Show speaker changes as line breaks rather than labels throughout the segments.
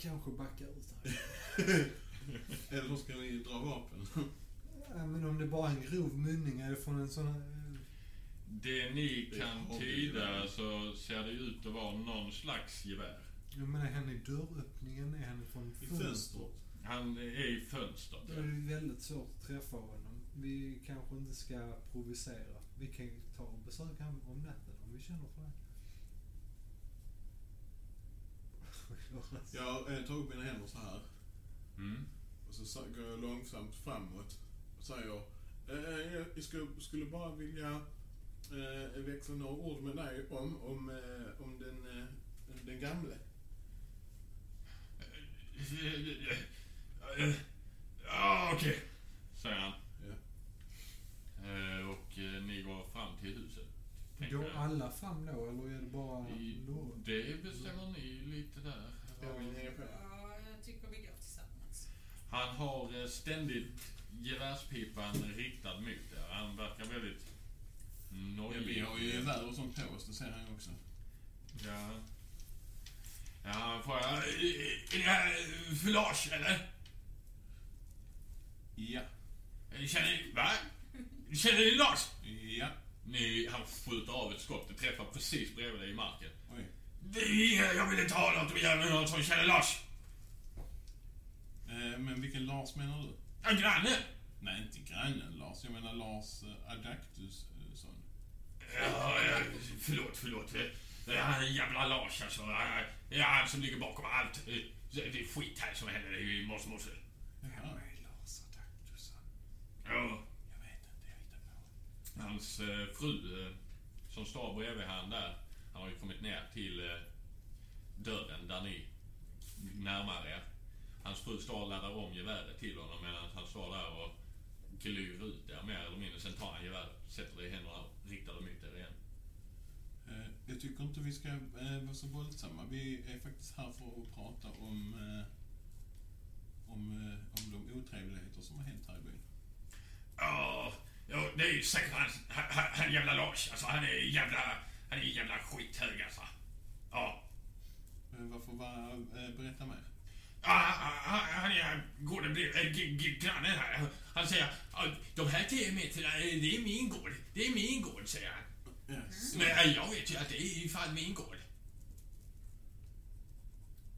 kanske backa ut här.
Eller så ska ni dra vapen.
Ja, men om det bara är en grov mynning, är det från en sån här... eh,
Det ni
Det är
kan
hobby.
tyda så ser det ut att vara någon slags gevär.
Jag menar, är han i dörröppningen? Är han från
I fönstret.
Han är i fönstret.
Då är
Mm.
det väldigt svårt att träffa honom. Vi kanske inte ska provocera. Vi kan ju ta och besöka honom om natten om vi känner för det.
Jag eh, tar upp mina händer så här.
Mm.
Och så sa- går jag långsamt framåt och säger eh, eh, jag skulle, skulle bara vilja eh, växla några ord med dig om, om, eh, om den, eh, den gamle.
Ja, okej, säger han.
Ja.
Eh, Och eh, ni går fram till huset. tänker
Går
jag.
alla fram då eller är det bara
I-
någon?
Det bestämmer ni lite där.
Jag vill hänga på.
Ja, jag tycker vi går tillsammans.
Han har eh, ständigt gevärspipan riktad mot er. Han verkar väldigt
Ja,
nojig.
vi har ju gevär och sånt på oss, det ser han ju också.
Ja. Ja, får jag... Är det här fylage, eller?
Ja,
Eh, Känner ni... Va? Känner ni Lars?
ja,
Ni, han skjuter av ett skott. Det träffar precis bredvid dig i marken.
oj.
Det är inga, jag vill inte ha något att göra med någon som känner Lars.
Eh, men vilken Lars menar du?
Ja, granne.
Nej, inte grannen Lars. Jag menar Lars eh, Adaktusson.
Ja, ja, förlåt, förlåt. Eh, Det här är en jävla Lars alltså. Det är han som ligger bakom allt. Eh, Det är skit här som händer i Mossmosse.
Jaha. är Lars Adaktusson?
Ja.
Jag vet inte, jag hittar på.
Hans eh, fru eh, som står bredvid han där, han har ju kommit ner till eh, dörren där ni närmar er. Hans fru står och laddar om geväret till honom medan han står där och glyr ut där mer eller mindre. Sen tar han geväret, sätter det i händerna och riktar det mot er igen.
Eh, Jag tycker inte vi ska eh, vara så våldsamma. Vi är faktiskt här för att prata om, eh, om, eh, om de otrevligheter som har hänt här i byn.
Ja, ja det är ju säkert han, han, han jävla Lars. Alltså han är jävla, han är jävla skithög alltså. Ja.
Eh, Varför bara eh, berätta mer?
Ja, han, han- han är gården bredvid, äh, g- g- grannen här. Han säger att de här tio meterna, eh, det är min gård. Det är min gård, säger han.
Yes.
Men eh, jag vet ju att det är ju fan min gård.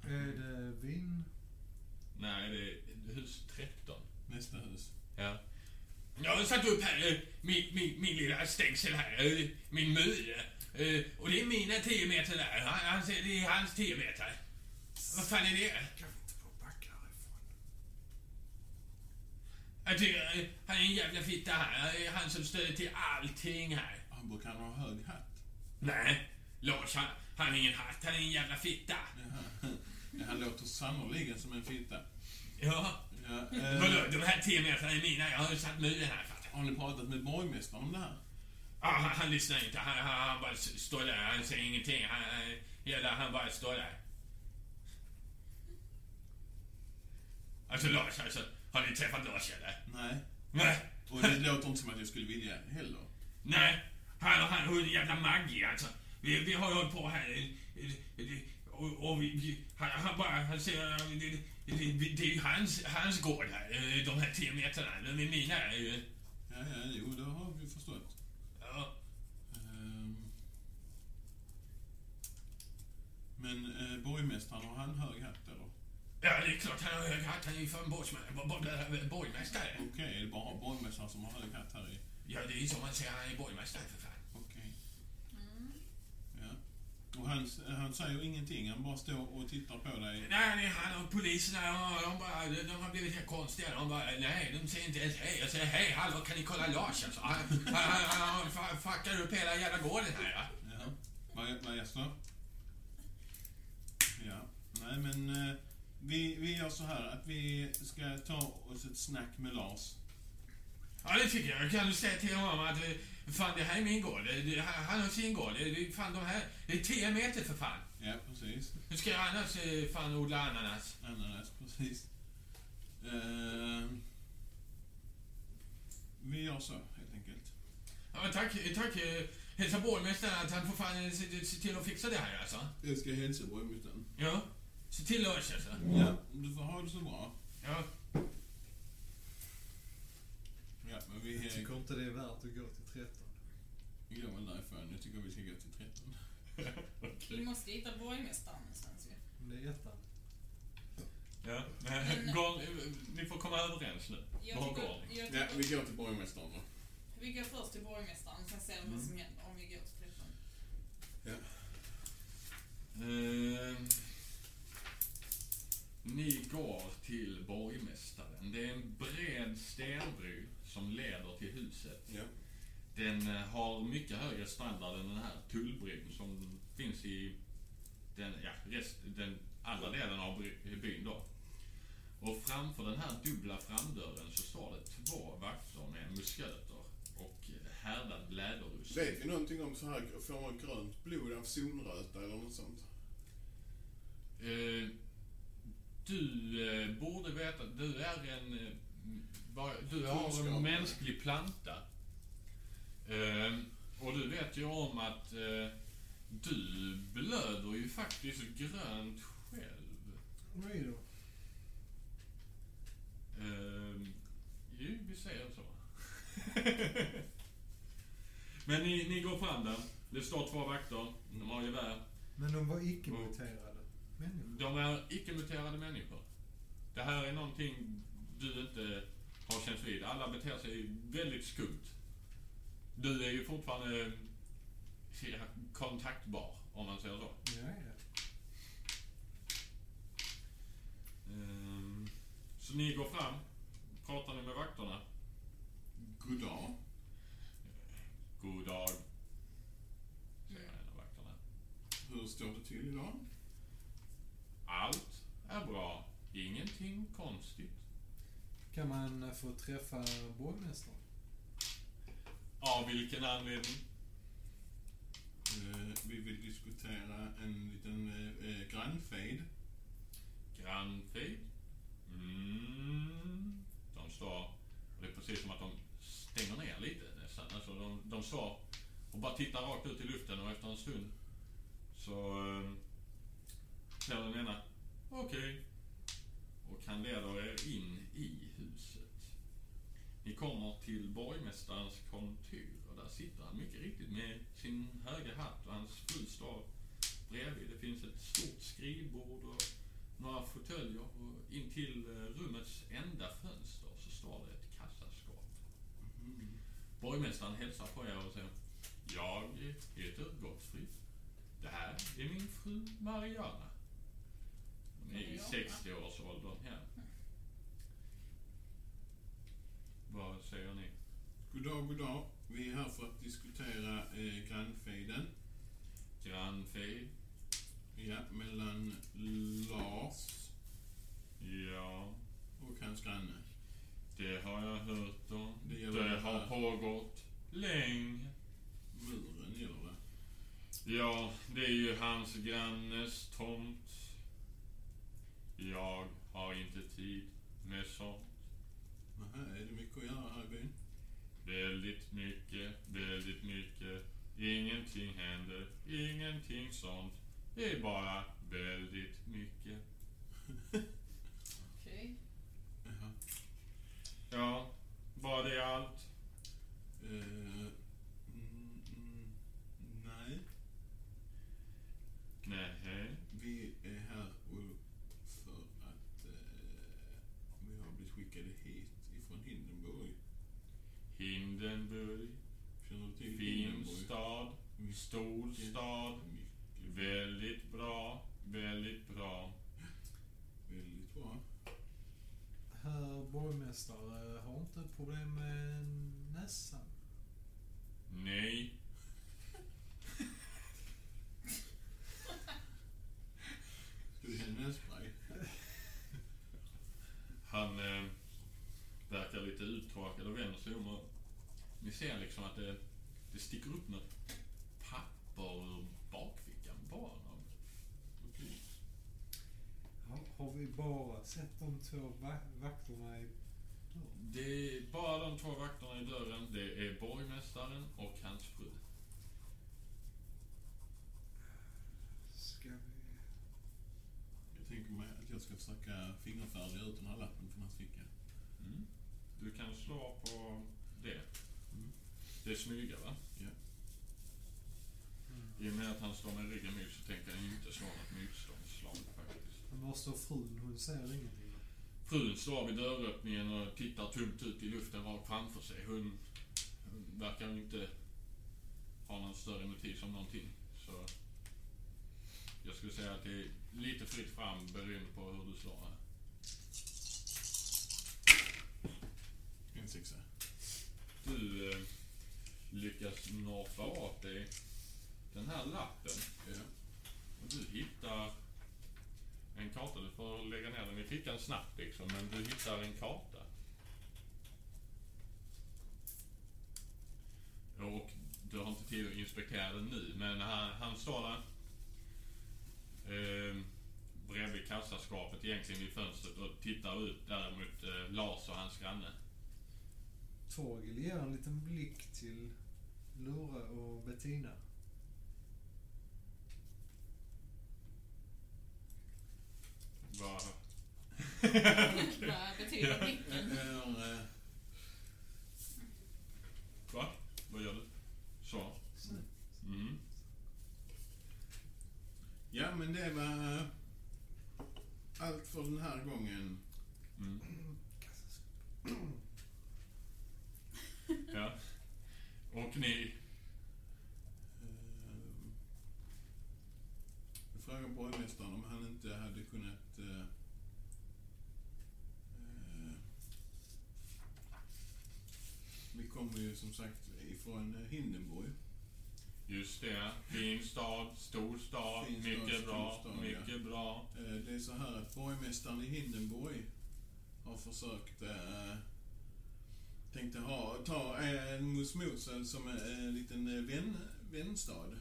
Är det vin?
Nej, det är hus 13.
Nästa hus.
Ja. Jag har satt upp här eh, min, min, min lilla stängsel här, eh, min mur. eh, Och det är mina 10 meter där. Han, han säger det är hans 10 meter. Vad fan är det?
Kan vi inte få backa härifrån?
Jag tycker, eh, han är en jävla fitta här. Eh, Han som stöder till allting här.
Han brukar ha hög hatt.
Nej, Lars han, han är ingen hatt, han är en jävla fitta.
Jaha. Ja, Han låter sannoliken som en fitta.
Ja.
Ja, eh,
Vadå, de här 10 meterna är mina. Jag har ju satt muren här fattar du.
har ni pratat med borgmästaren om det här?
Ja, han, han lyssnar inte. Han, han, han bara s- står där. Han säger ingenting. Han, han, hela, han bara står där. Alltså Lars, alltså, har ni träffat Lars eller?
Nej.
Nej.
Och det låter inte som att jag skulle vilja heller.
Nej. Han och han och en jävla Maggie alltså. Vi, vi har ju hållit på här. eh, eh, eh, Och, och vi, vi, han, han bara, han säger, eh, det, det, det, det är ju hans, hans gård här. eh, De här tio meterna. De är mina. eh.
Ja, ja, jo, det har vi förstått.
Ja.
Ehm. Men eh, borgmästaren, har han hög hatt eller?
Ja, det är klart. Han har ju hatt. Han är ju fan borgsmä- bo- bo- borgmästare.
Okej, är det bara borgmästaren som har hög hatt här i?
Ja, det är ju som man säger. Han är borgmästare för fan.
Okej. Ja. Och han, s- han säger ingenting, han bara står och tittar på dig.
Nej, det är han och poliserna. De, de, bara, de, de har blivit helt konstiga. De bara, nej, de säger inte ens hej. Jag säger hej, hallå, kan ni kolla Lars alltså? Han, han, han, han, fa- fuckar upp hela jävla gården här. Ja.
Ja. Vad vad är det? Ja. Nej, men eh, vi, vi gör så här att vi ska ta oss ett snack med Lars.
Ja, det tycker jag. Kan du säga till honom att eh, fan, det här är min gård. Det- det- Han han har sin gård. Det- det- Fan, de här... Det är 10 meter för fan.
Ja, precis.
Hur ska jag annars eh, fan odla ananas?
Ananas, precis. Ehm, vi gör så, helt enkelt.
Ja, men tack, eh, tack. eh, Hälsa borgmästaren att han får fan eh, se se till att fixa det här alltså.
Jag ska hälsa borgmästaren.
Ja. Se till att ösa alltså. så.
Ja, du får ha det så bra.
Ja.
Ja, men vi
Jag
eh,
tycker inte det är värt att gå till 13.
går väl därifrån. Jag tycker vi ska gå till 13.
Vi måste hitta borgmästaren någonstans ju.
Men det är ettan.
ja. Eh, Går, ni får komma överens nu.
Jag
Var går
tycker,
ni?
jag
Ja,
tycker,
vi går till borgmästaren då.
vi går först till borgmästaren, sen ser vi vad
Mm.
som händer om vi går till 13.
Eh, ni går till borgmästaren. Det är en bred stenbro som leder till huset.
Ja.
Den eh, har mycket högre standard än den här tullbron som finns i den, ja, rest, den andra delen av bry- byn då. Och framför den här dubbla framdörren så står det två vakter med musköter och härdad läderrustning.
Vet vi någonting om så här, får man grönt blod av solröta eller något sånt?
Eh, du eh, borde veta att du är en... eh, m- bara- Du har
Kunskap.
en mänsklig planta. Eh, och du vet ju om att eh, du blöder ju faktiskt grönt själv.
Oj då.
Eh, jo, vi säger så. Men ni, ni går fram där. Det står två vakter. De har gevär.
Men de var icke-muterade människor.
De är icke-muterade människor. Det här är någonting du inte har känts vid. Alla beter sig väldigt skumt. Du är ju fortfarande eh, ja, kontaktbar, om man säger så.
Ja, ja.
Ehm, Så ni går fram, pratar ni med vakterna.
God dag.
God dag, säger en av vakterna.
Hur står det till idag?
Allt är bra. Ingenting konstigt.
Kan man eh, få träffa borgmästaren?
Av vilken anledning?
Eh, vi vill diskutera en liten eh, eh, grannfejd.
Grannfrid. Mm. De står... Och det är precis som att de stänger ner lite nästan. Alltså de, de står och bara tittar rakt ut i luften och efter en stund så eh, säger den ena okej. Och han leder er in i huset. Ni kommer till borgmästarens kontor och där sitter han mycket riktigt med sin höga hatt och hans fru står bredvid. Det finns ett stort skrivbord och några fåtöljer och intill eh, rummets enda fönster så står det ett kassaskåp.
Mm.
Borgmästaren hälsar på er och säger Jag heter Gottfrid. Det här är min fru Mariana. Hon är i
Mariana.
60-årsåldern här. Vad säger ni?
God dag, god dag. Vi är här för att diskutera eh, grannfejden.
Grannfej?
Ja, mellan Lars
Ja,
och hans granne.
det har jag hört om.
Det gäller
Det
det
har
här.
pågått länge.
Muren gäller det.
Ja, det är ju hans grannes tomt. Jag har inte tid med sånt.
Nähä, är det mycket att göra här i byn?
Väldigt mycket, väldigt mycket. Ingenting händer, ingenting sånt. Det är bara väldigt mycket.
Okej.
Jaha.
Ja, var det allt?
Eh, mm, mm, nej,
Nej.
vi är här och för att eh, vi har blivit skickade hit ifrån Hindenburg.
Hindenburg,
Känner du till
fin
Hindenburg?
stad, stor stad. Väldigt bra, väldigt bra.
Väldigt bra.
Herr borgmästare, eh, har inte problem med näsan?
Nej.
Ska vi ha nässpray?
Han eh, verkar lite uttråkad och vänder sig om och ni ser liksom att det, det sticker upp något papper ur bakfickan på honom.
Har, har vi bara sett de två va- vakterna i dörren?
Det är bara de två vakterna i dörren. Det är borgmästaren och hans fru.
Ska vi...
Jag tänker Jag ska försöka fingerfärdiga ut den här lappen från hans ficka.
Mm. Du kan slå på det.
Mm.
Det är smyga va?
Ja.
Mm.
I och med att han står med ryggen mot så tänker han ju inte slå något motståndsslag faktiskt.
Men var står frun? Hon säger ingenting. va?
Frun står vid dörröppningen och tittar tomt ut i luften rakt framför sig. Hon hon verkar inte ha någon större motiv som någonting. Så jag skulle säga att det är lite fritt fram beroende på hur du slår här.
En sexa.
Du eh, lyckas norpa åt dig den här lappen.
Ja.
Och du hittar en karta. Du får lägga ner den i fickan snabbt liksom, men du hittar en karta. Och du har inte tid att inspektera den nu, men han, han står där eh, bredvid kassaskåpet egentligen vid fönstret och tittar ut där mot eh, Lars och hans granne.
Torgil ger en liten blick till Lure och Bettina.
Vad
Vad betyder
Jag
Mm.
blicken?
är, eh,
Va? Vad gör du? Så. Mm.
Ja, men det var eh, allt för den här gången.
Mm. Ja. Och ni...
Eh, Jag frågade borgmästaren om han inte hade kunnat eh, eh, Vi kommer ju som sagt ifrån eh, Hindenburg.
Just det. Fin stad, stor stad,
Fin stad,
mycket
stor
bra,
stad, ja.
mycket bra.
Eh, Det är så här att borgmästaren i Hindenburg har försökt eh, tänkte ha, ta eh, Mosmosa som en eh, liten eh, vän, vänstad.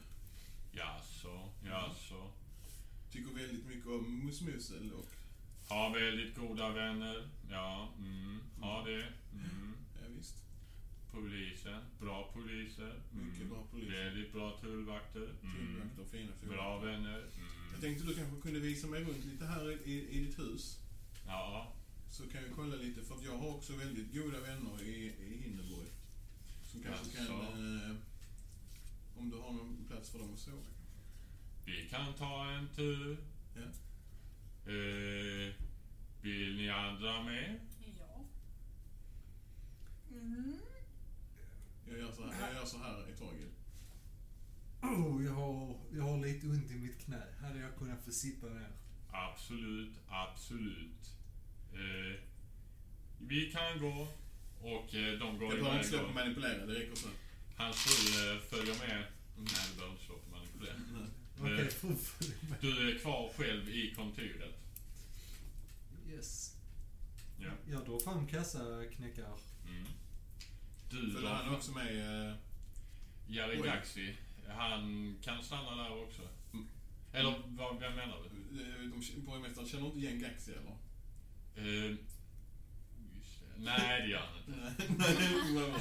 Ja, så, ja, så.
Tycker väldigt mycket om Mosmosel och
Ha väldigt goda vänner. Ja, mm. Ha det. Mm.
ja, visst,
Polisen. Bra poliser. Mm.
Mycket bra poliser.
Väldigt bra tullvakter. Mm.
tullvakter och fina fordon.
Bra vänner.
Jag
Mm.
tänkte du kanske kunde visa mig runt lite här i, i, i ditt hus.
Ja,
Så kan jag kolla lite, för att jag har också väldigt goda vänner i, i Hindenburg. Som kanske kan...
Jaså?
Eh, om du har någon plats för dem att sova.
Vi kan ta en tur.
Ja.
Eh, vill ni andra med?
Ja. Mm.
Jag gör så här, jag gör så här i taget.
Oh, jag har, jag har lite ont i mitt knä. Hade jag kunnat få sitta ner?
Absolut, absolut. Eh, vi kan gå. Och eh, de går
Jag behöver inte
iväg.
slå på
och-
manipulera, det räcker så.
Hans fru eh, följer med. Nej, du behöver inte slå på manipulera.
Okej,
Eh.
fru, följ med.
Du är kvar själv i kontoret.
Yes.
Ja.
Jag drar fram kassaknäckar.
Mm. Du
Följer han också med... Eh,
Jari
Oj.
Gaxi. Han kan stanna där också.
Mm.
Eller vad, vem menar du?
de, de, borgmästaren känner inte igen Gaxi eller?
Eh, just det. nej, det gör han inte.
Nej, nej, vad bra.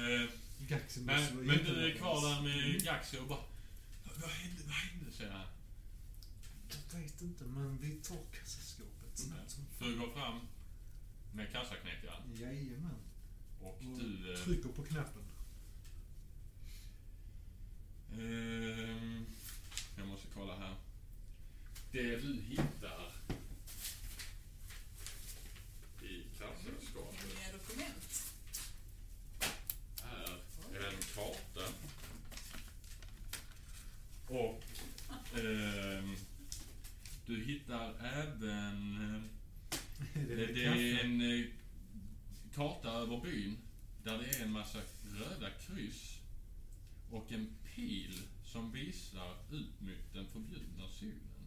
Eh,
Gaxi måste
men,
vara
men du är
jättebra.
kvar där med Gaxi och bara... Vad hände? Vad hände? säger han.
Jag vet inte, men vi tar kassaskåpet.
Mm. Du går fram med kassaknäckaren
Jajamän.
och
Och
du... eh,
Trycker på knappen.
Ehm, jag måste kolla här. Det du hittar i kassaskåpet
Hemliga dokument.
är en karta och ehm, du hittar även ehm,
Är
Det, det är en eh, karta över byn där det är en massa röda kryss och en pil som visar ut mot den förbjudna zonen.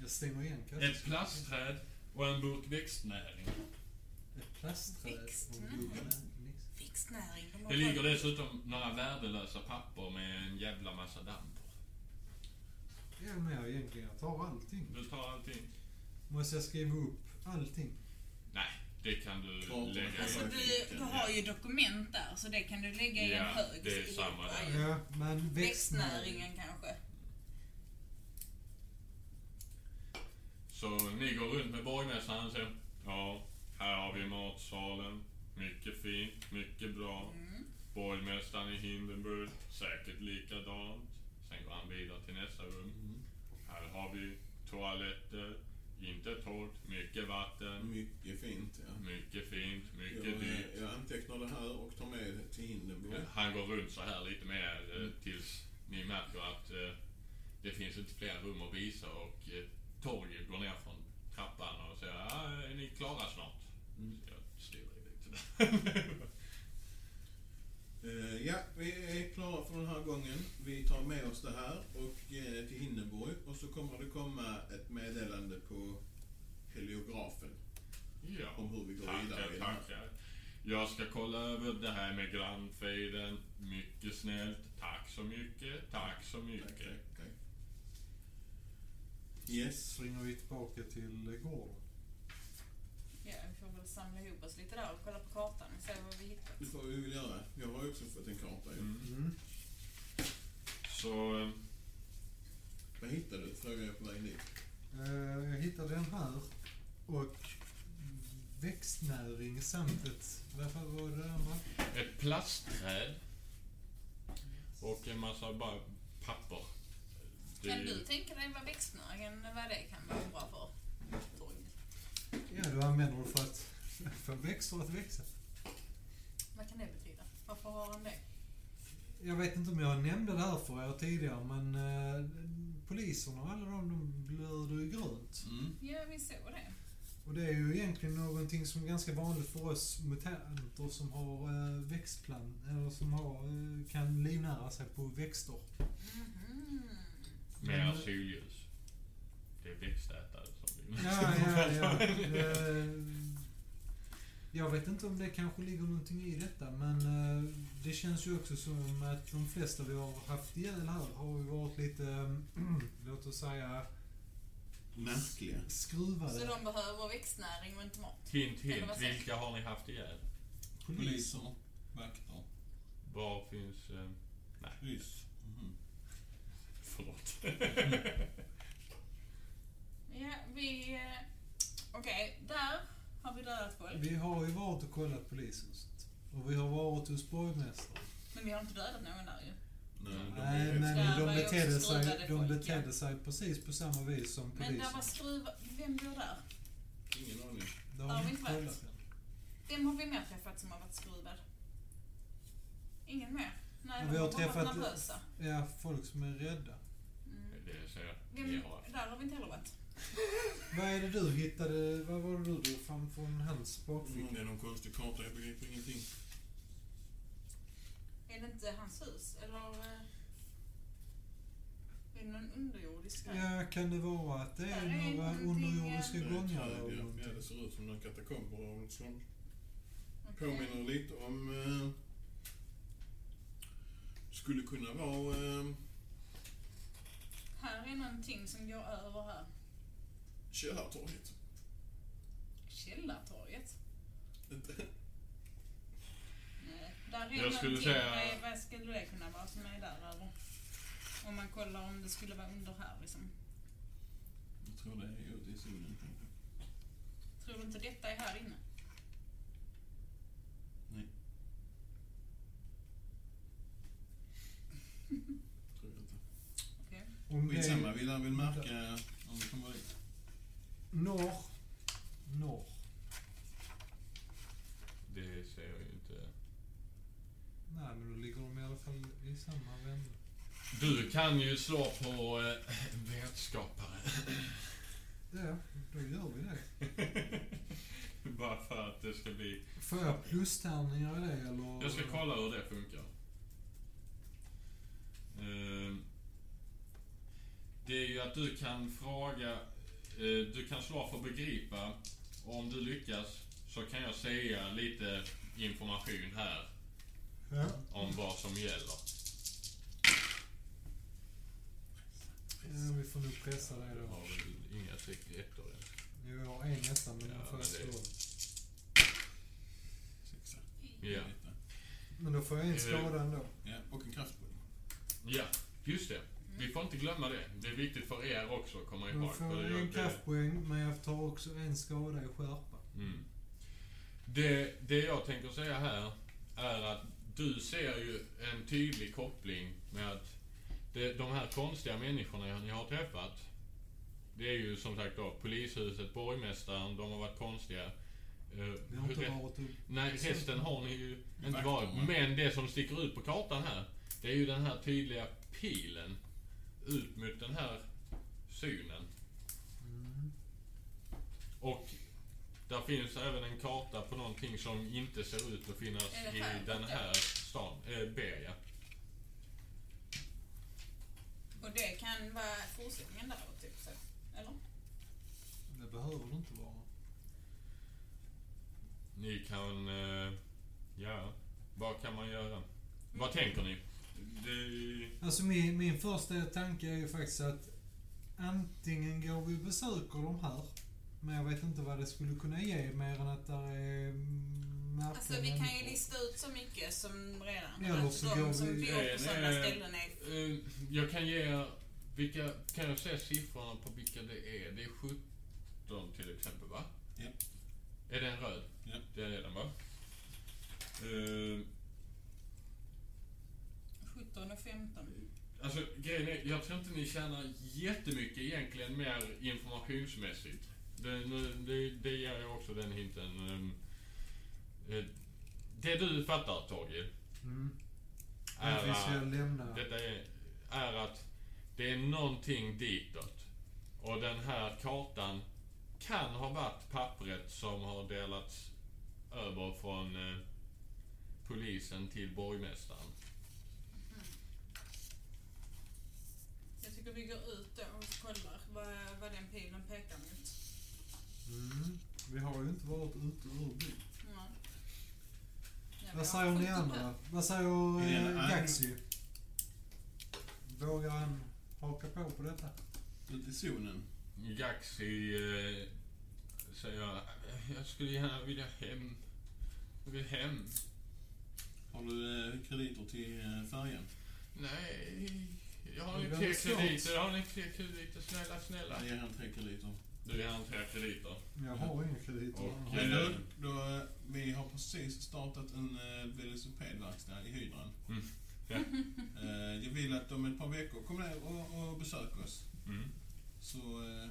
Jag stänger igen kassaskåpet.
Ett plastträd och en burk växtnäring.
Ett plastträd. och
Växt.
en guldnäring.
Växtnäring. de har
Det ligger
koll.
dessutom några värdelösa papper med en jävla massa damm på.
Ja, men jag egentligen jag tar allting.
Du tar allting?
Måste jag skriva upp allting?
Nej, det kan du
Kartorna.
lägga
Alltså
i.
du, du har ju dokument där så det kan du lägga i en
Ja,
hög.
det är
i-
samma där.
Ja, men växtnäring.
Växtnäringen kanske.
Så ni går runt med borgmästaren och säger Ja, här har vi matsalen. Mycket fint, mycket bra.
Mm.
Borgmästaren i Hindenburg, säkert likadant. Sen går han vidare till nästa rum. Här har vi toaletter, inte torrt, mycket vatten.
Mycket fint, ja.
Mycket fint,
Jag,
mycket dyrt.
eh, jag antecknar det här och tar med det till Hindenburg.
Han går runt så här lite mer eh, tills ni märker att eh, det finns inte fler rum att visa och eh, Torgny går ner från trappan och säger ah, är ni klara snart?
Mm.
Så jag stirrar lite där.
Eh, ja, vi är klara för den här gången. Vi tar med oss det här och eh, till Hindenburg och så kommer det komma ett meddelande på heliografen
ja,
om hur vi går vidare.
tackar,
i det här.
tackar. Jag ska kolla över det här med grannfejden. Mycket snällt. Tack så mycket. Tack så
Tack,
mycket.
tack, tack. Yes.
Springer vi tillbaka till eh, gården?
Ja, vi får väl samla ihop oss lite där och kolla på kartan och se vad vi hittar.
Det får vi väl göra. Jag har ju också fått en karta. ju.
Mm.
Mm.
Så eh,
Vad hittade du? Frågade jag på väg dit.
Eh, jag hittade den här och växtnäring samt ett... Varför var det andra?
ett plastträd och en massa bara papper. Det-
Kan du tänka dig vad växtnäringen, vad det kan vara bra för? Torgny?
Ja, du använder det för att få växter att växa.
Vad kan det betyda? Varför har han det?
Jag vet inte om jag nämnde det här för er tidigare, men eh, poliserna och alla de, de blöder ju grönt.
Mm.
Ja, vi såg det.
Och det är ju egentligen någonting som är ganska vanligt för oss mutanter som har eh, växtplan, eller som har, eh, kan livnära sig på växter.
Mhm.
Mer
Men- eh,
än solljus. Det är växtätare som blir
Ja, ja, ja. Eh, Jag vet inte om det kanske ligger någonting i detta, men eh, det känns ju också som att de flesta vi har haft ihjäl här har ju varit lite, eh, låt oss säga,
Märkliga.
Så
skruvade
de behöver växtnäring och inte mat.
Hint,
Eller
hint.
vad säger-
Vilka har ni haft ihjäl?
Poliser. Vakter.
Var finns... Eh, nej,
Ryss. Mhm.
förlåt.
Mm. Ja, vi... eh, Okej, där har vi dödat folk.
Vi har ju varit och kollat polishuset. Och vi har varit hos borgmästaren. Eh,
Men vi har inte dödat någon där ju.
Nej, men de är
Nej, men
Där var
de
ju
betedde,
också
sig,
skruvade
de
folk,
betedde sig precis på samma vis som
Men där
polisen.
var skruva... Vem bor där?
Ingen aning.
Det
där
har
har
vi
vi
inte
inte varit.
kollat än.
Vem har vi mer träffat som har varit skruvad? Ingen mer? Nej,
Ja,
de
vi
har
har
bara varit
träffat-
nervösa.
Ja, folk som är rädda.
Mm.
Det säger
Vem,
jag.
Där har vi inte heller varit.
Vad är det du hittade? Vad var det du drog fram från hans bakficka?
Mm. Det är någon konstig karta. Jag begriper ingenting.
Är det inte hans hus? Eller... eh, Är det någon underjordisk grej?
Ja, kan det vara att det
Där är
är några
någonting,
underjordiska
Det är ett
gångar
träd,
eller
ja.
någonting?
Ja, det ser ut som några katakomber av något slag.
Okej.
Påminner lite om... Eh, skulle kunna vara... Eh,
Här är någonting som går över här.
Källartorget.
Källartorget?
Inte-
Nej, där är
Jag skulle
någonting.
säga-
Vad är- Vad skulle det kunna vara som är där över? Om man kollar om det skulle vara under här liksom.
Jag tror det är ute i solen kanske.
Tror du inte detta är här inne?
Nej. tror jag inte.
Okej.
Om det
Skitsamma,
är
vi lär väl märka om vi kommer dit.
norr, norr.
Det ser jag ju inte.
Nej, men då ligger de i alla fall i samma vända.
Du kan ju slå på eh, vetskapare.
Ja, då gör vi det.
Bara för att det ska bli...
Får jag plustärningar i det eller?
Jag ska kolla hur det funkar. Ehm, Det är ju att du kan fråga, eh, du kan slå för begripa och om du lyckas så kan jag säga lite information här
Ja.
om vad som gäller.
ja, vi får nog pressa dig
Jag
då.
har väl inga riktigt ettor än.
Jo, jag har en nästan, men
Ja,
den får jag
men
slå.
det-
Sexa.
Ja.
Lite.
Men då får jag en skada ändå.
ja. Och en kraftbulle.
ja, just det. Vi får inte glömma det. Det är viktigt för er också att komma ihåg.
Jag
för
får
det-
en
det-
kraftpoäng, men jag tar också en skada i skärpa.
Mm. Det, det jag tänker säga här är att du ser ju en tydlig koppling med att det, de här konstiga människorna ni har träffat. Det är ju som sagt då polishuset, borgmästaren, de har varit konstiga. Eh,
Vi har inte
re-
varit upp...
Nej, resten har ni ju inte
Vakterna.
varit. Men det som sticker ut på kartan här, det är ju den här tydliga pilen ut mot den här synen.
Mm.
Och där finns även en karta på någonting som inte ser ut att finnas
Är det
i
här
den
borta?
här stan, eh, Beria.
Och det kan vara fortsättningen där då, typ så. Eller?
Det behöver det inte vara.
Ni kan, eh, ja, vad kan man göra? Vad
Mm.
tänker ni? Det,
Alltså min, min första tanke är ju faktiskt att antingen går vi och besöker de här, men jag vet inte vad det skulle kunna ge mer än att där är mm, märkliga
Alltså vi kan ju
människor.
lista ut så mycket som redan
Ja, och
att
så
de
går
som
vi-
bor på sådana
Eh, nej.
ställen är...
eh, jag kan ge er, vilka, kan jag säga siffrorna på vilka det är? Det är 17 till exempel va?
Ja.
Är det en röd?
Ja.
Det är den va? Eh,
17 och 15.
Alltså grejen är, jag tror inte ni tjänar jättemycket egentligen mer informationsmässigt. Det, nu- det, det ger jag också den hinten. ehm, eh, Det du fattar Torgil,
Mm.
är,
Men vi ska
att-
lämna.
detta är, är att det är någonting ditåt. Och den här kartan kan ha varit pappret som har delats över från eh, polisen till borgmästaren.
Jag tycker vi går ut då och kollar vad, vad den pilen pekar mot.
Mm. Vi har ju inte varit ute ur byn.
Ja. Ja, vi har
Vad säger ni
skjutit
andra?
här.
Vad säger
Är det en
eh,
annan-
Gaxi? Vågar han haka på på detta?
Ut i zonen.
Jaxi eh, säger jag, jag skulle gärna vilja hem. Jag vill hem.
Har du eh, krediter till eh, färjan?
Nej, jag har
Men
inte
vem
tre
är smart?
krediter. Jag har inte tre krediter. Snälla, snälla.
Jag ger han tre krediter.
Du ger han tre krediter.
Jag har inga krediter.
Och,
Men
eh,
du, då, eh, vi har precis startat en eh, velocipedverkstad i Hydran.
Mm. Ja.
Eh, jag vill att om ett par veckor kommer ner och, och besök oss.
Mm.
Så, eh,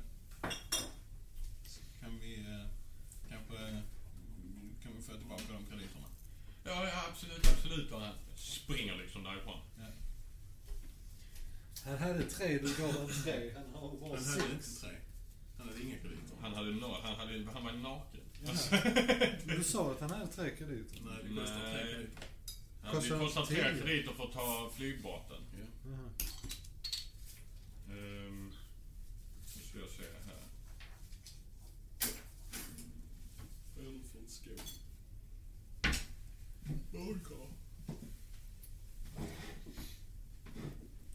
så kan vi eh, kanske eh, kan vi få tillbaka de krediterna.
Ja, ja, absolut, absolut. Och han springer liksom därifrån.
Han hade tre, du gav honom tre. Han har bara
Han hade inte tre. Han hade inga krediter.
Han, hade no, han, hade, han var naken.
Du sa att han hade tre krediter.
Nej, det kostar tre
Nej.
krediter.
Han hade
Kostar
kostar tre
tio.
krediter för att ta flygbåten.
Ja.
Jaha.
Ehm, nu ska jag se här.
Öl från skål. Burkar.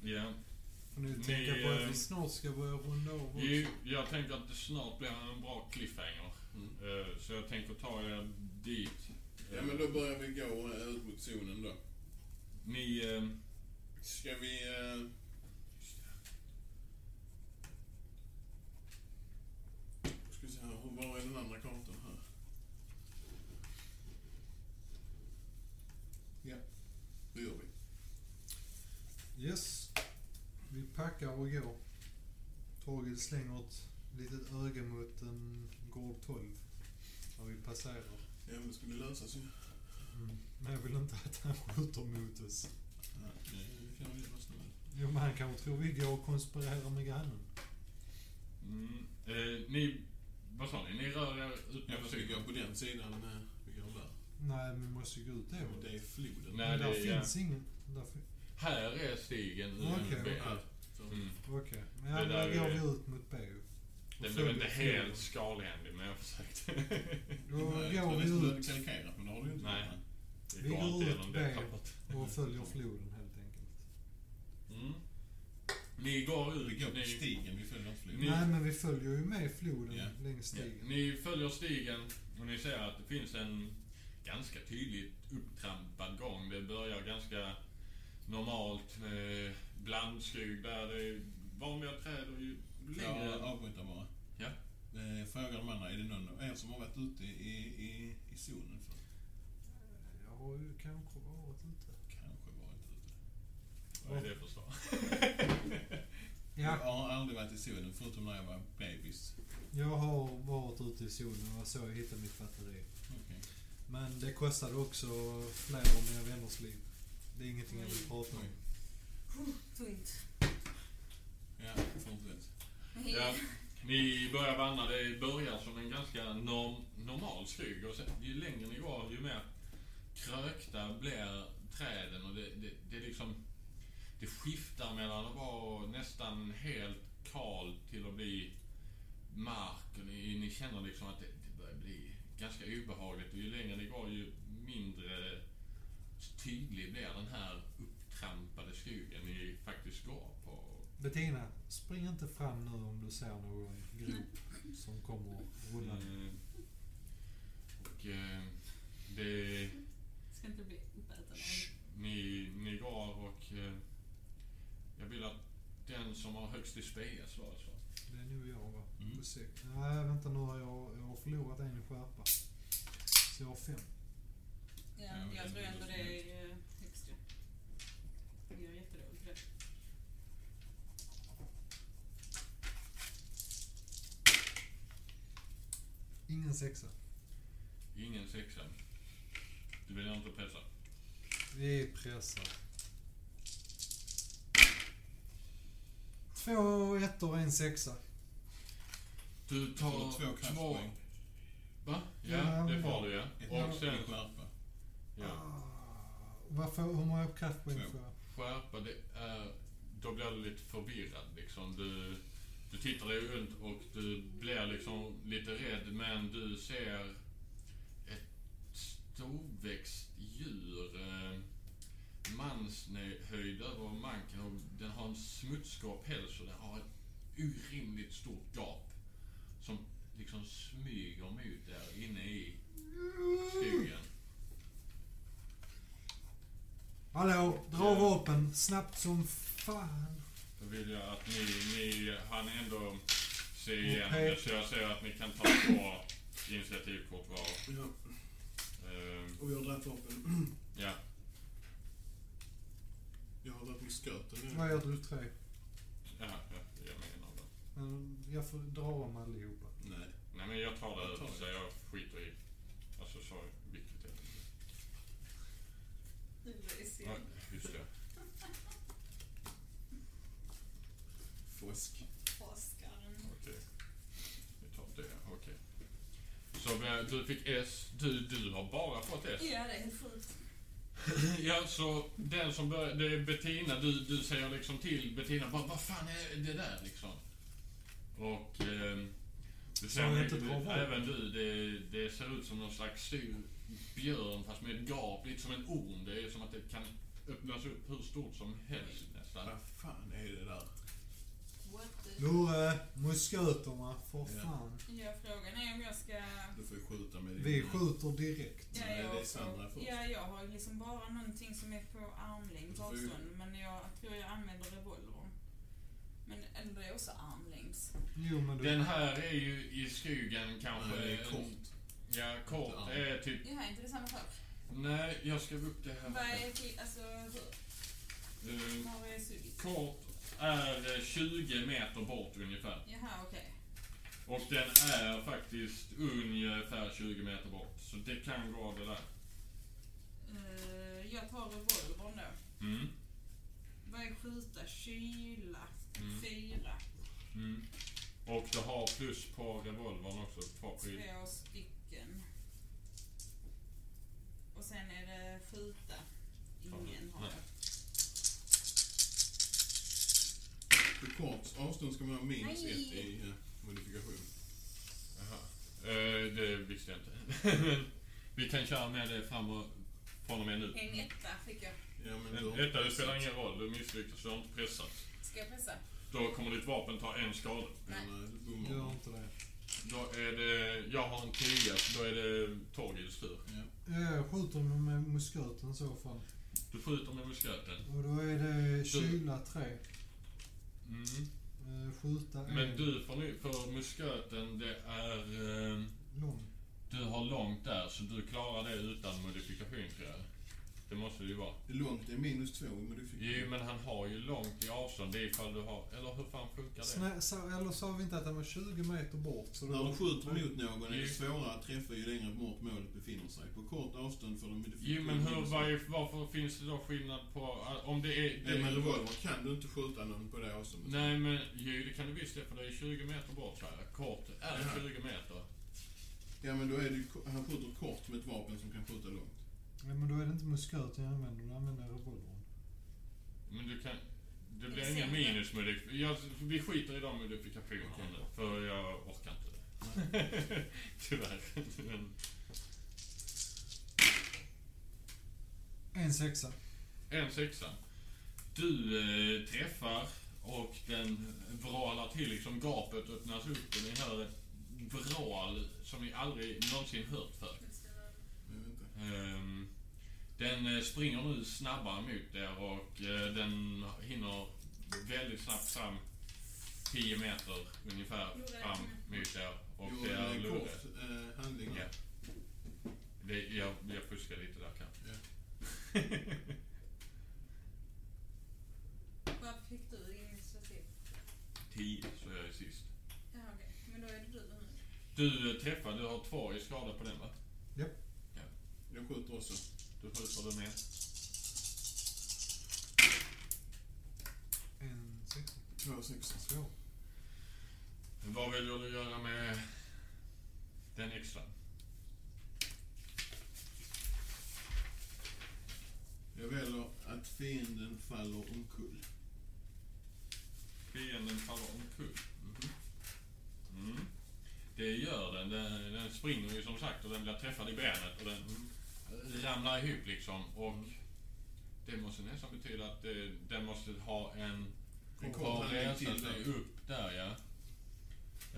Ja.
Får ni tänka
Ni,
på
eh,
att vi snart ska börja runda av också.
Jo, jag tänker att det snart blir en bra cliffhanger.
Mm.
Eh, Så jag tänker ta er dit.
Ja men då börjar vi gå eh, ut mot zonen då.
Ni... eh,
Ska vi... eh, Ska vi se här, hur- var är den andra kartan här? Ja. Det gör vi.
Yes. Vi packar och går. Torgil slänger ett litet öga mot en gård 12. När vi passerar.
Ja men det skulle lösas ju.
Men jag vill inte att han skjuter mot oss.
Ja, det kan vi lösa nu.
Jo men han kanske tror vi går och konspirerar med grannen.
Mm, eh, ni... Vad sa ni? Ni rör er ut
Ja
mot
fast vi går
cykeln?
på den sidan. eh, Vi går där.
Nej men vi måste ju gå ut då.
Men Det är floden.
Nej,
men där
det är-
finns ingen. Där fin-
Här är stigen ut
Okej.
mot B.
Här. Så.
Mm.
Okej. Men ja,
Det där
där går
är-
vi ut mot B.
Den blev inte helt skalhändig, men jag försökte.
Då
Nej, jag
går
tror
vi
nästan du hade
ut
kalkerat, men det har du ju inte
Nej.
gjort, va?
Vi
Det
går
går inte
ut
genom det
där.
tappet.
och följer floden helt enkelt.
Mm. Ni går
Vi
ut.
går på
Ni,
stigen, vi följer inte floden.
Ni-
Nej men vi följer ju med floden
Ja.
längs
ja,
stigen.
ni följer stigen och ni ser att det finns en ganska tydligt upptrampad gång. Det börjar ganska normalt eh, blandskog där det är vanliga träd och ju längre...
Jag avbryter bara.
Ja.
Eh, frågar de andra, är det någon er som har varit ute i, i, i zonen för?
Jag har ju kanske varit ute.
Kanske varit ute.
Vad är det för svar?
Jag
Ja,
har aldrig varit i zonen förutom när jag var babys.
jag har varit ute i solen. Det var så jag hittade mitt batteri.
Okej.
Men det kostade också flera av mina vänners liv. Det är ingenting jag vill prata om.
Oj.
Tungt.
Ja, fortsätt.
Ja, ni börjar vandra. Det börjar som en ganska norm, normal skog och sen, ju längre ni går ju mer krökta blir träden och det, det, det är liksom det skiftar mellan att vara nästan helt kal till att bli mark och ni, ni känner liksom att det, det börjar bli ganska obehagligt och ju längre ni går ju mindre tydlig blir den här upptrampade skogen ni faktiskt går på.
Bettina, spring inte fram nu om du ser någon grop som kommer rullande.
Mm. Och eh, det...
Ska inte bli uppäten av
Shh, ni, ni går och... Eh, jag vill att den som har högst i spea svarar så.
Det är nu jag va?
Mm.
På sex. Nej, vänta nu. har Jag, jag har förlorat en i skärpa. Så jag har fem.
Ja, jag tror ändå det är eh, högst ju. Det gör jätteroligt för det.
Ingen sexa.
Ingen sexa. Du vill inte pressa.
Vi pressar. Två ettor och en sexa.
Du
Jag
tar
får två kraftpoäng.
Va? Ja,
Ja,
det får du ja.
Ett
Och
i
sen...
skärpa.
Ja.
Ah, Varför, hur många kraftpoäng
Två.
får jag?
Skärpa, det är... Då blir du lite förvirrad liksom. Du, du tittar dig runt och du blir liksom lite rädd men du ser ett storväxt djur. Eh, manshöjd över manken och den har en smutsgrå päls och den har ett orimligt stort gap. Som liksom smyger mot er inne i skogen.
Hallå, dra vapen snabbt som fan.
Då vill jag att ni, ni han ändå se igen
Okej.
det, så jag säger att ni kan ta två initiativkort var.
Ja,
Ehm,
och jag har dragit vapen.
ja,
Jag har dragit med sköten
Vad
nu.
gör du tre?
ja, ja, jag menar det.
Men Jag får dra om allihopa.
Nej.
Nej men jag tar det
Jag tar
över
det.
så jag skiter i. Alltså sorry, vilket är det? Ja, just det.
Fusk.
Forskaren.
Okej. Vi tar det, okej. Så eh, du fick S, du, du har bara fått S.
Ja, det är helt sjukt.
Ja, så den som börjar, det är Bettina, du, du säger liksom till Bettina, vad, vad fan är det där liksom? Och ehm, du
Sa jag
ser
inte dra vapen?
även du, det, det ser ut som någon slags stor björn fast med ett gap, lite som en orm. Det är som att det kan öppnas upp hur stort som helst nästan.
Vad fan är det där?
What the...
Lurre, musköterna, för
Ja.
fan.
Ja, frågan är om jag ska...
Du får ju skjuta med din...
Vi skjuter direkt.
Ja,
Nej, det är
jag,
Sandra först.
ja, jag har liksom bara någonting som är på armlängds
Du får ju-
avstånd, men jag tror jag använder revolvern. Men ändå är också armlängds.
Mm.
Jo men du...
Den här är ju i skogen kanske.
Nej, det är
en-
kort.
Ja, kort
Ja.
är typ,
Ja, är inte det samma sak?
nej jag skrev upp det
Vad
här.
är... till- Alltså, hur?
Eh,
Var är sugit?
Kort är eh, 20 meter bort ungefär.
Jaha, okej.
Och den är faktiskt ungefär 20 meter bort. Så det kan gå det där.
Eh, jag tar revolvern då.
Mm.
Vad är skjuta? Kyla?
Mm.
Fyra?
Mm. Och du har plus på revolvern också. Två skyd.
Två stycken. Och sen är det skjuta. Ingen har
Nej.
jag.
På kort avstånd ska man ha minus
Nej.
ett i eh, modifikation.
Jaha. Eh, det visste jag inte. Men Vi kan köra med det framåt från och med nu.
En etta fick jag.
Ja, men
Men
då-
Detta det spelar ingen roll. Du misslyckas. Du har inte pressat.
Ska jag pressa?
Då kommer ditt vapen ta en skada.
Ja,
Nej.
Nej, du
Gör
bommar.
inte det.
Då är det... Jag har en 10, så då är det Torgils tur.
Ja.
Jag skjuter med med musköten i så fall.
Du skjuter med musköten.
Och då är det kyla 3.
Mm.
Skjuta
Men
en.
du får nu, för musköten det är... Eh,
Lång.
du har långt där så du klarar det utan modifikation tror jag. Det måste det ju vara.
Långt är minus två men du fick...
Jo men han har ju långt i avstånd. Det är ifall du har... Eller hur fan funkar det?
Snä, sa, eller sa vi inte att den var 20 meter bort? Så
När
då-
du skjuter mot någon är det svårare att träffa ju längre bort målet befinner sig. På kort avstånd får de
Jo men hur, varje, varför finns det då skillnad på... Om det är...
Nej, med revolver kan du inte skjuta någon på det avståndet.
Nej men jo det kan du visst det för det är 20 meter bort så här. Kort
Jaha.
är 20 meter.
Ja, men då är det ju, han skjuter kort med ett vapen som kan skjuta långt.
Ja, men då är det inte musköten jag använder, då använder jag revolvern.
Men du kan... Det blir
Jag
inga
ser inte.
minusmodifikationer. Vi skiter i de modifikationerna nu, för jag orkar inte det. Tyvärr. Men
En sexa.
en sexa. Du eh, träffar och den vrålar till liksom. Gapet öppnas upp och ni hör ett vrål som ni aldrig någonsin hört förr.
Men vänta.
Ehm, Den eh, springer nu snabbare mot er och eh, den hinner väldigt snabbt fram 10 meter ungefär
Loreen.
fram mot er. Och
Jo,
det
det
är
är en
Lore.
kort eh, handling.
Ja. Det, jag, jag fuskar lite där kanske.
Ja.
Varför fick du initiativ?
10 så jag är sist.
Ja, okej. Men då är det du nu.
Du eh, träffar, du har två i skada på den va?
Jag skjuter också.
Du skjuter den med.
En sexa.
Två sexor.
Svår.
Vad vill du göra med den extra?
Jag väljer att fienden faller omkull.
Fienden faller omkull. Mm. Det gör den. den. Den springer ju som sagt och den blir träffad i benet och den
Mm.
ramlar ihop liksom. Och det måste nästan betyda att eh, den måste ha en
En kort
kort
handling
resa
till
sig
där.
upp där ja.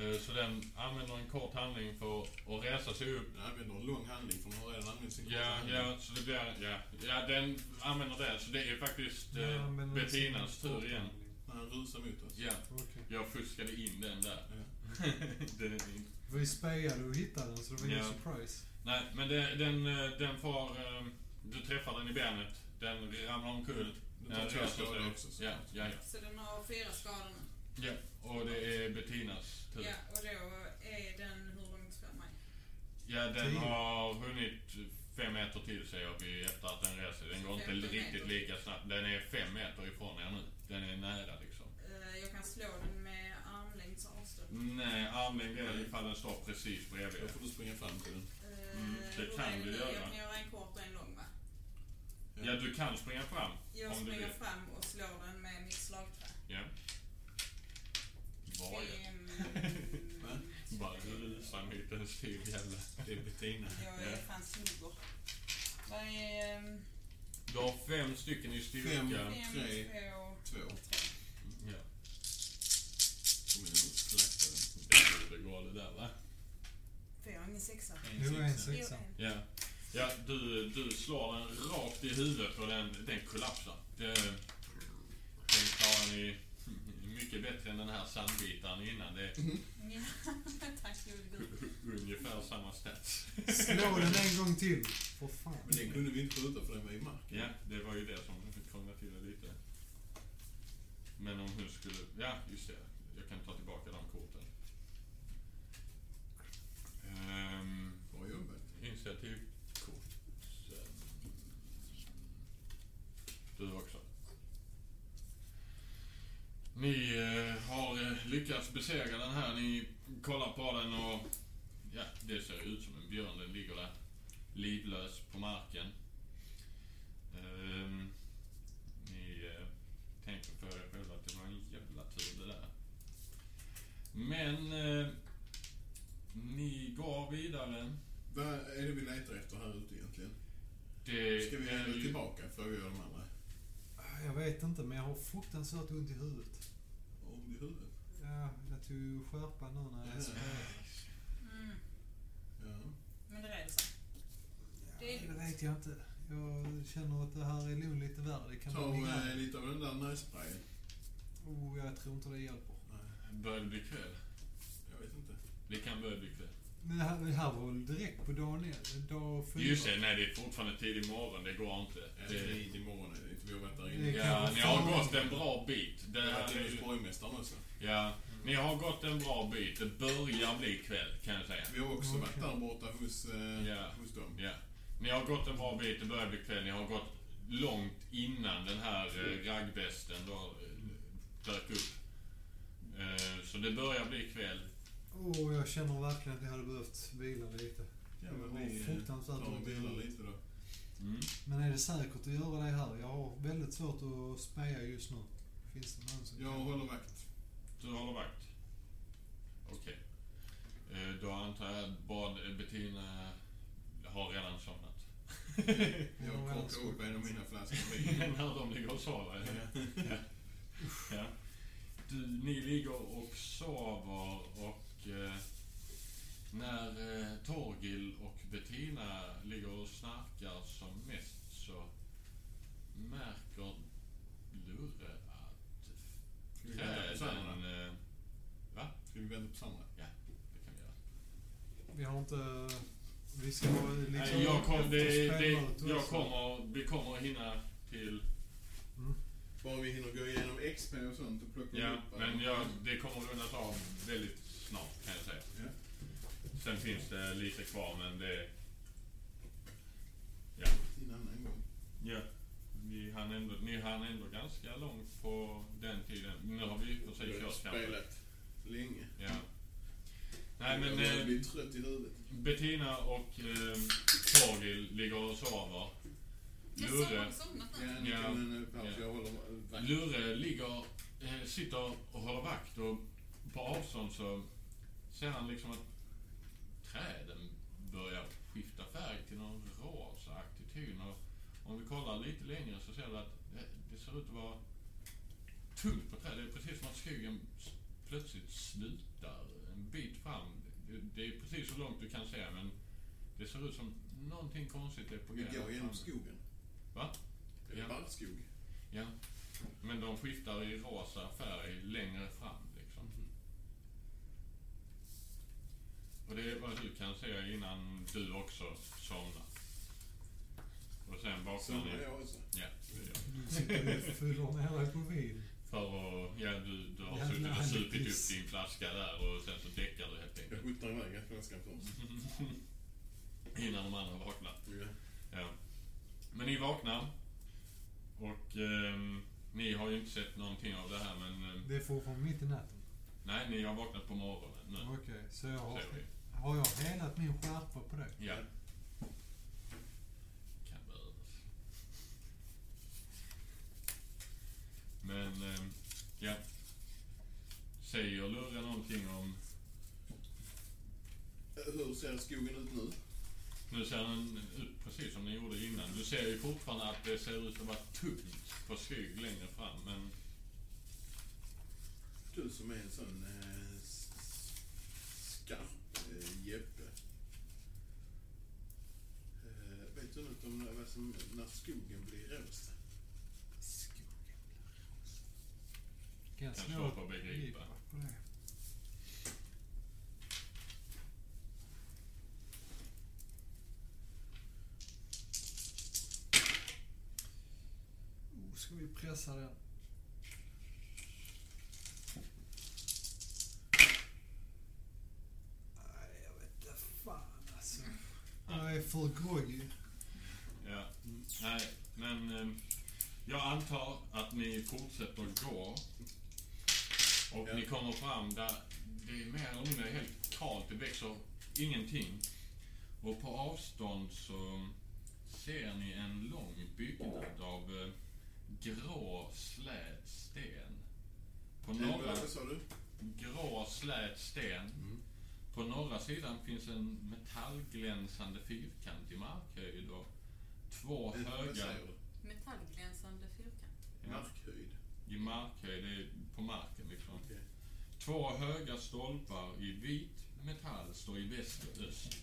Eh, Så den använder en kort handling för att resa sig upp.
Jag använder en lång handling för den har redan använt sin korta
Ja,
handling.
ja, så det blir, ja. ja, den använder det. Så det är faktiskt
Nej,
eh,
jag använder
Bettinas
sin-
tur igen.
När han rusar mot oss.
Ja,
Okej.
jag fuskade in den där.
Ja.
den är in.
Vi spejade och hittade den så det var ingen
Ja.
surprise.
Nej, men det, den, eh, den får... eh, Du träffar den i benet. Den ramlar omkull.
Den tar
Ja,
två
det
skador
är-
också. så-
Ja, ja, ja.
Så den har fyra skador nu.
ja. Och det är Bettinas tur.
Ja, och då är den hur långt fram är?
Ja, den
Tio.
har hunnit fem meter till säger vi efter att den reser. Den går inte
Femton
riktigt
meter.
lika snabbt. Den är fem meter ifrån er nu. Den är nära liksom.
Eh, Jag kan slå den med armlängds avstånd.
Nej, armlängd är det ifall den står precis bredvid
Då
er.
får du springa fram till den.
Eh,
Mm, det
då
kan
är
du göra.
Jag kan göra en kort och en lång va?
Ja, du kan springa fram.
Jag
Om du
springer
vill.
fram och slår den med mitt slagträ.
Ja. Var jag?
Fem,
Va?
Bara rusar mot en stor jävla...
Det är Bettina.
Jag är
Ja.
fan snubber. Vad är... ehm,
Du har fem stycken i styrka.
Fem.
Fem,
tre.
två,
Två.
och tre.
Ja.
Som är nog slaktade.
Det borde gå det där va?
Får jag ingen sexa?
Det var en
Jo,
sexa.
en.
Ja. Ja, du, du slår den rakt i huvudet och den, den kollapsar. Det, den klarar ni mycket bättre än den här sandbitaren innan. Det är
Ja, tack gode gud.
ungefär samma stats.
Slå den en gång till. För fan.
Men den kunde vi inte skjuta för den var i marken.
Ja, det var ju det som krånglade till det lite. Men om hon skulle... Ja, just det. Jag kan ta tillbaka de korten. Ehm,
Bra jobbat.
Initiativkort. Du också. Ni eh, har eh, lyckats besegra den här. Ni kollar på den och ja, det ser ut som en björn. Den ligger där livlös på marken. Ehm, ni eh, tänker för er själva att det var en jävla tur det där. Men eh, ni går vidare.
Vad är det vi letar efter här ute egentligen?
Det
Ska vi
är
ändå tillbaka? Frågar jag de andra.
Ah, Jag vet inte men jag har fruktansvärt ont i huvudet.
Om i huvudet.
Ja, jag tog ju skärpa nu när jag spejade.
Mm,
Ja.
men det reder sig.
Ja, det vet jag inte. Jag känner att det här är nog lite värre. Det kan
Ta
vara min
eh,
grej.
lite av den där nässprayen.
Oh, jag tror inte det hjälper.
Nej,
Börjar det bli kväll?
jag vet inte.
Det kan börja bli kväll.
Men det här, det här var väl direkt på dagen ner- dag fyra?
Just det, nej det är fortfarande tidig morgon. Det går inte.
Det är
Det,
tidigt imorgon. är det inte. Vi har varit där
Det
inne.
kan
ja,
vara
ni har
farligt.
gått en bra bit. Det,
Jag har till och
det,
med borgmästaren också.
Ja, ni har gått en bra bit. Det börjar bli kväll kan jag säga.
Vi har också
Okej.
varit där borta hos, eh,
Ja.
hos dem.
Ja. Ni har gått en bra bit, det börjar bli kväll. Ni har gått långt innan den här eh, raggvästen då eh, dök upp. Eh, så det börjar bli kväll.
Åh, jag känner verkligen att jag hade behövt vila lite.
Ja,
Jag
men
har
vi eh,
fruktansvärt
tar och
ont i
bilar
huvudet.
lite då.
Mm.
Men är det säkert att göra det här? Jag har väldigt svårt att speja just nu. Finns det någon som
Jag
kan?
håller vakt.
Du håller vakt? Okej. Eh, då antar jag att bad eh, Bettina har redan somnat.
Ja,
Jag
men
korkar
alltså-
upp en av mina flaskor vin.
När de ligger och sover. Ja. Ja. Du, ni ligger och sover och eh, när eh, Torgil och Bettina ligger och snarkar som mest så märker Lurre att
Ska vi vänta på
träden...
Sandra?
Eh,
Ska vi vänta på Sandra?
det kan vi göra.
Vi har inte... Vi ska vara liksom...
Nej, jag, kom,
efter
det,
spelvalet
det, jag
också.
kommer, vi kommer att hinna till...
Bara vi hinner gå igenom XP och sånt och plocka
Ja,
upp.
men jag, det kommer att rundas av väldigt snart kan jag säga.
Ja.
Sen finns det lite kvar men det...
Till en annan gång.
Ja. Vi hann ändå, ni hann ändå ganska långt på den tiden. Nu har vi
Jag
precis
har
kört kanske.
spelat länge.
Ja. Nej men
Jag börjar
eh,
bli trött i huvudet.
Bettina och eh, Torgil ligger och sover.
Jag
Lurre.
sover- somnat nu.
Ja, nu
Ja.
kan en paus.
Ja.
Jag håller vakt.
Lurre ligger, eh, sitter och håller vakt och på avstånd så ser han liksom att träden börjar skifta färg till någon rosaaktig ton. Och om vi kollar lite längre så ser du att det, det ser ut att vara tungt på trädet. Det är precis som att skogen s- plötsligt slutar en bit fram. Det, det är precis så långt du kan se men det ser ut som någonting konstigt är på
Vi går
fram.
genom skogen.
Va?
Är det
Ja.
barrskog?
Ja. Men de skiftar i rosa färg längre fram liksom. Och det är vad du kan se innan du också somnar. Och sen vaknar
Samma
ni.
jag också.
Ja, det gör vi.
Du sitter och fyller ner dig på vin.
För att, ja du, du har
Jävla
suttit och supit
Alice.
upp din flaska där och sen så däckar du helt
Jag
enkelt.
skjuter iväg den flaskan först.
Innan de andra vaknar.
Ja.
Ja. Men ni vaknar. Och ehm, ni har ju inte sett någonting av det här men... ehm,
Det är fortfarande mitt i natten.
nej, ni har vaknat på morgonen nu.
Mm, Okej, så jag har...
Ser vi.
Har jag helat min skärpa på det?
Ja. Kan behövas. Men, ehm, ja. Säger Lurre någonting om...
Hur ser skogen ut nu?
Nu ser den ut precis som den gjorde innan. Du ser ju fortfarande att det ser ut att vara tungt på skog längre fram, men...
Du som är en sån eh, s- skarp eh, jeppe. Eh, vet du något om vad som, när skogen blir rosa?
Kan jag
Kan
slå
slå på
ett
begripa.
begripa på det? Oh, Ska vi pressa den? Nej, jag vet inte fan alltså. Jag är för groggy.
Ja. Nej, men... ehm, jag antar att ni fortsätter gå. Och
Ja.
ni kommer fram där det är mer eller mindre helt kalt. Det växer ingenting. Och på avstånd så ser ni en lång byggnad av eh, grå slät sten. På
Eh,
norra,
Vad sa du?
grå slät sten.
Mm.
På norra sidan finns en metallglänsande fyrkant i markhöjd och två
Eh, Vad
höga...
säger du?
Metallglänsande fyrkant.
Ja.
Markhöjd.
I markhöjd, det är på marken liksom.
Okej.
Två höga stolpar i vit metall står i väst och öst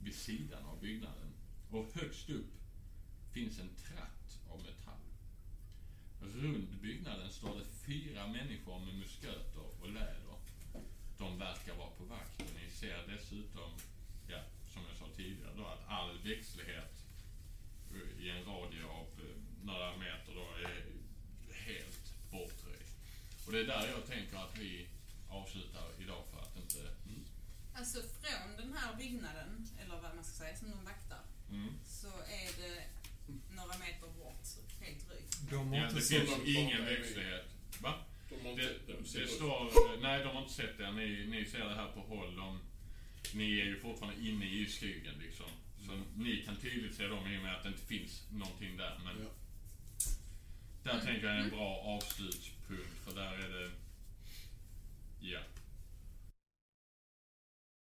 vid sidan av byggnaden. Och högst upp finns en tratt av metall. Runt byggnaden står det fyra människor med musköter och läder. De verkar vara på vakt och ni ser dessutom, ja, som jag sa tidigare då, att all växtlighet eh, i en radie av eh, några meter då är helt bortröjd. Och det är där jag tänker att vi avslutar idag för att inte...
Alltså från den här byggnaden, eller vad man ska säga, som de vaktar,
Mm.
så är det några meter bort, så helt drygt.
De har
Ja,
inte
det
sett...
finns ingen växtlighet. Va?
De har
Det,
inte... de ser
det
ut-
står... Nej, de har inte sett det. Ni, ni ser det här på håll. De, ni är ju fortfarande inne i skuggan liksom. Så ni kan tydligt se dem i och med att det inte finns någonting där. Men
Ja.
där tänker jag är en bra avslutspunkt för där är det... Ja,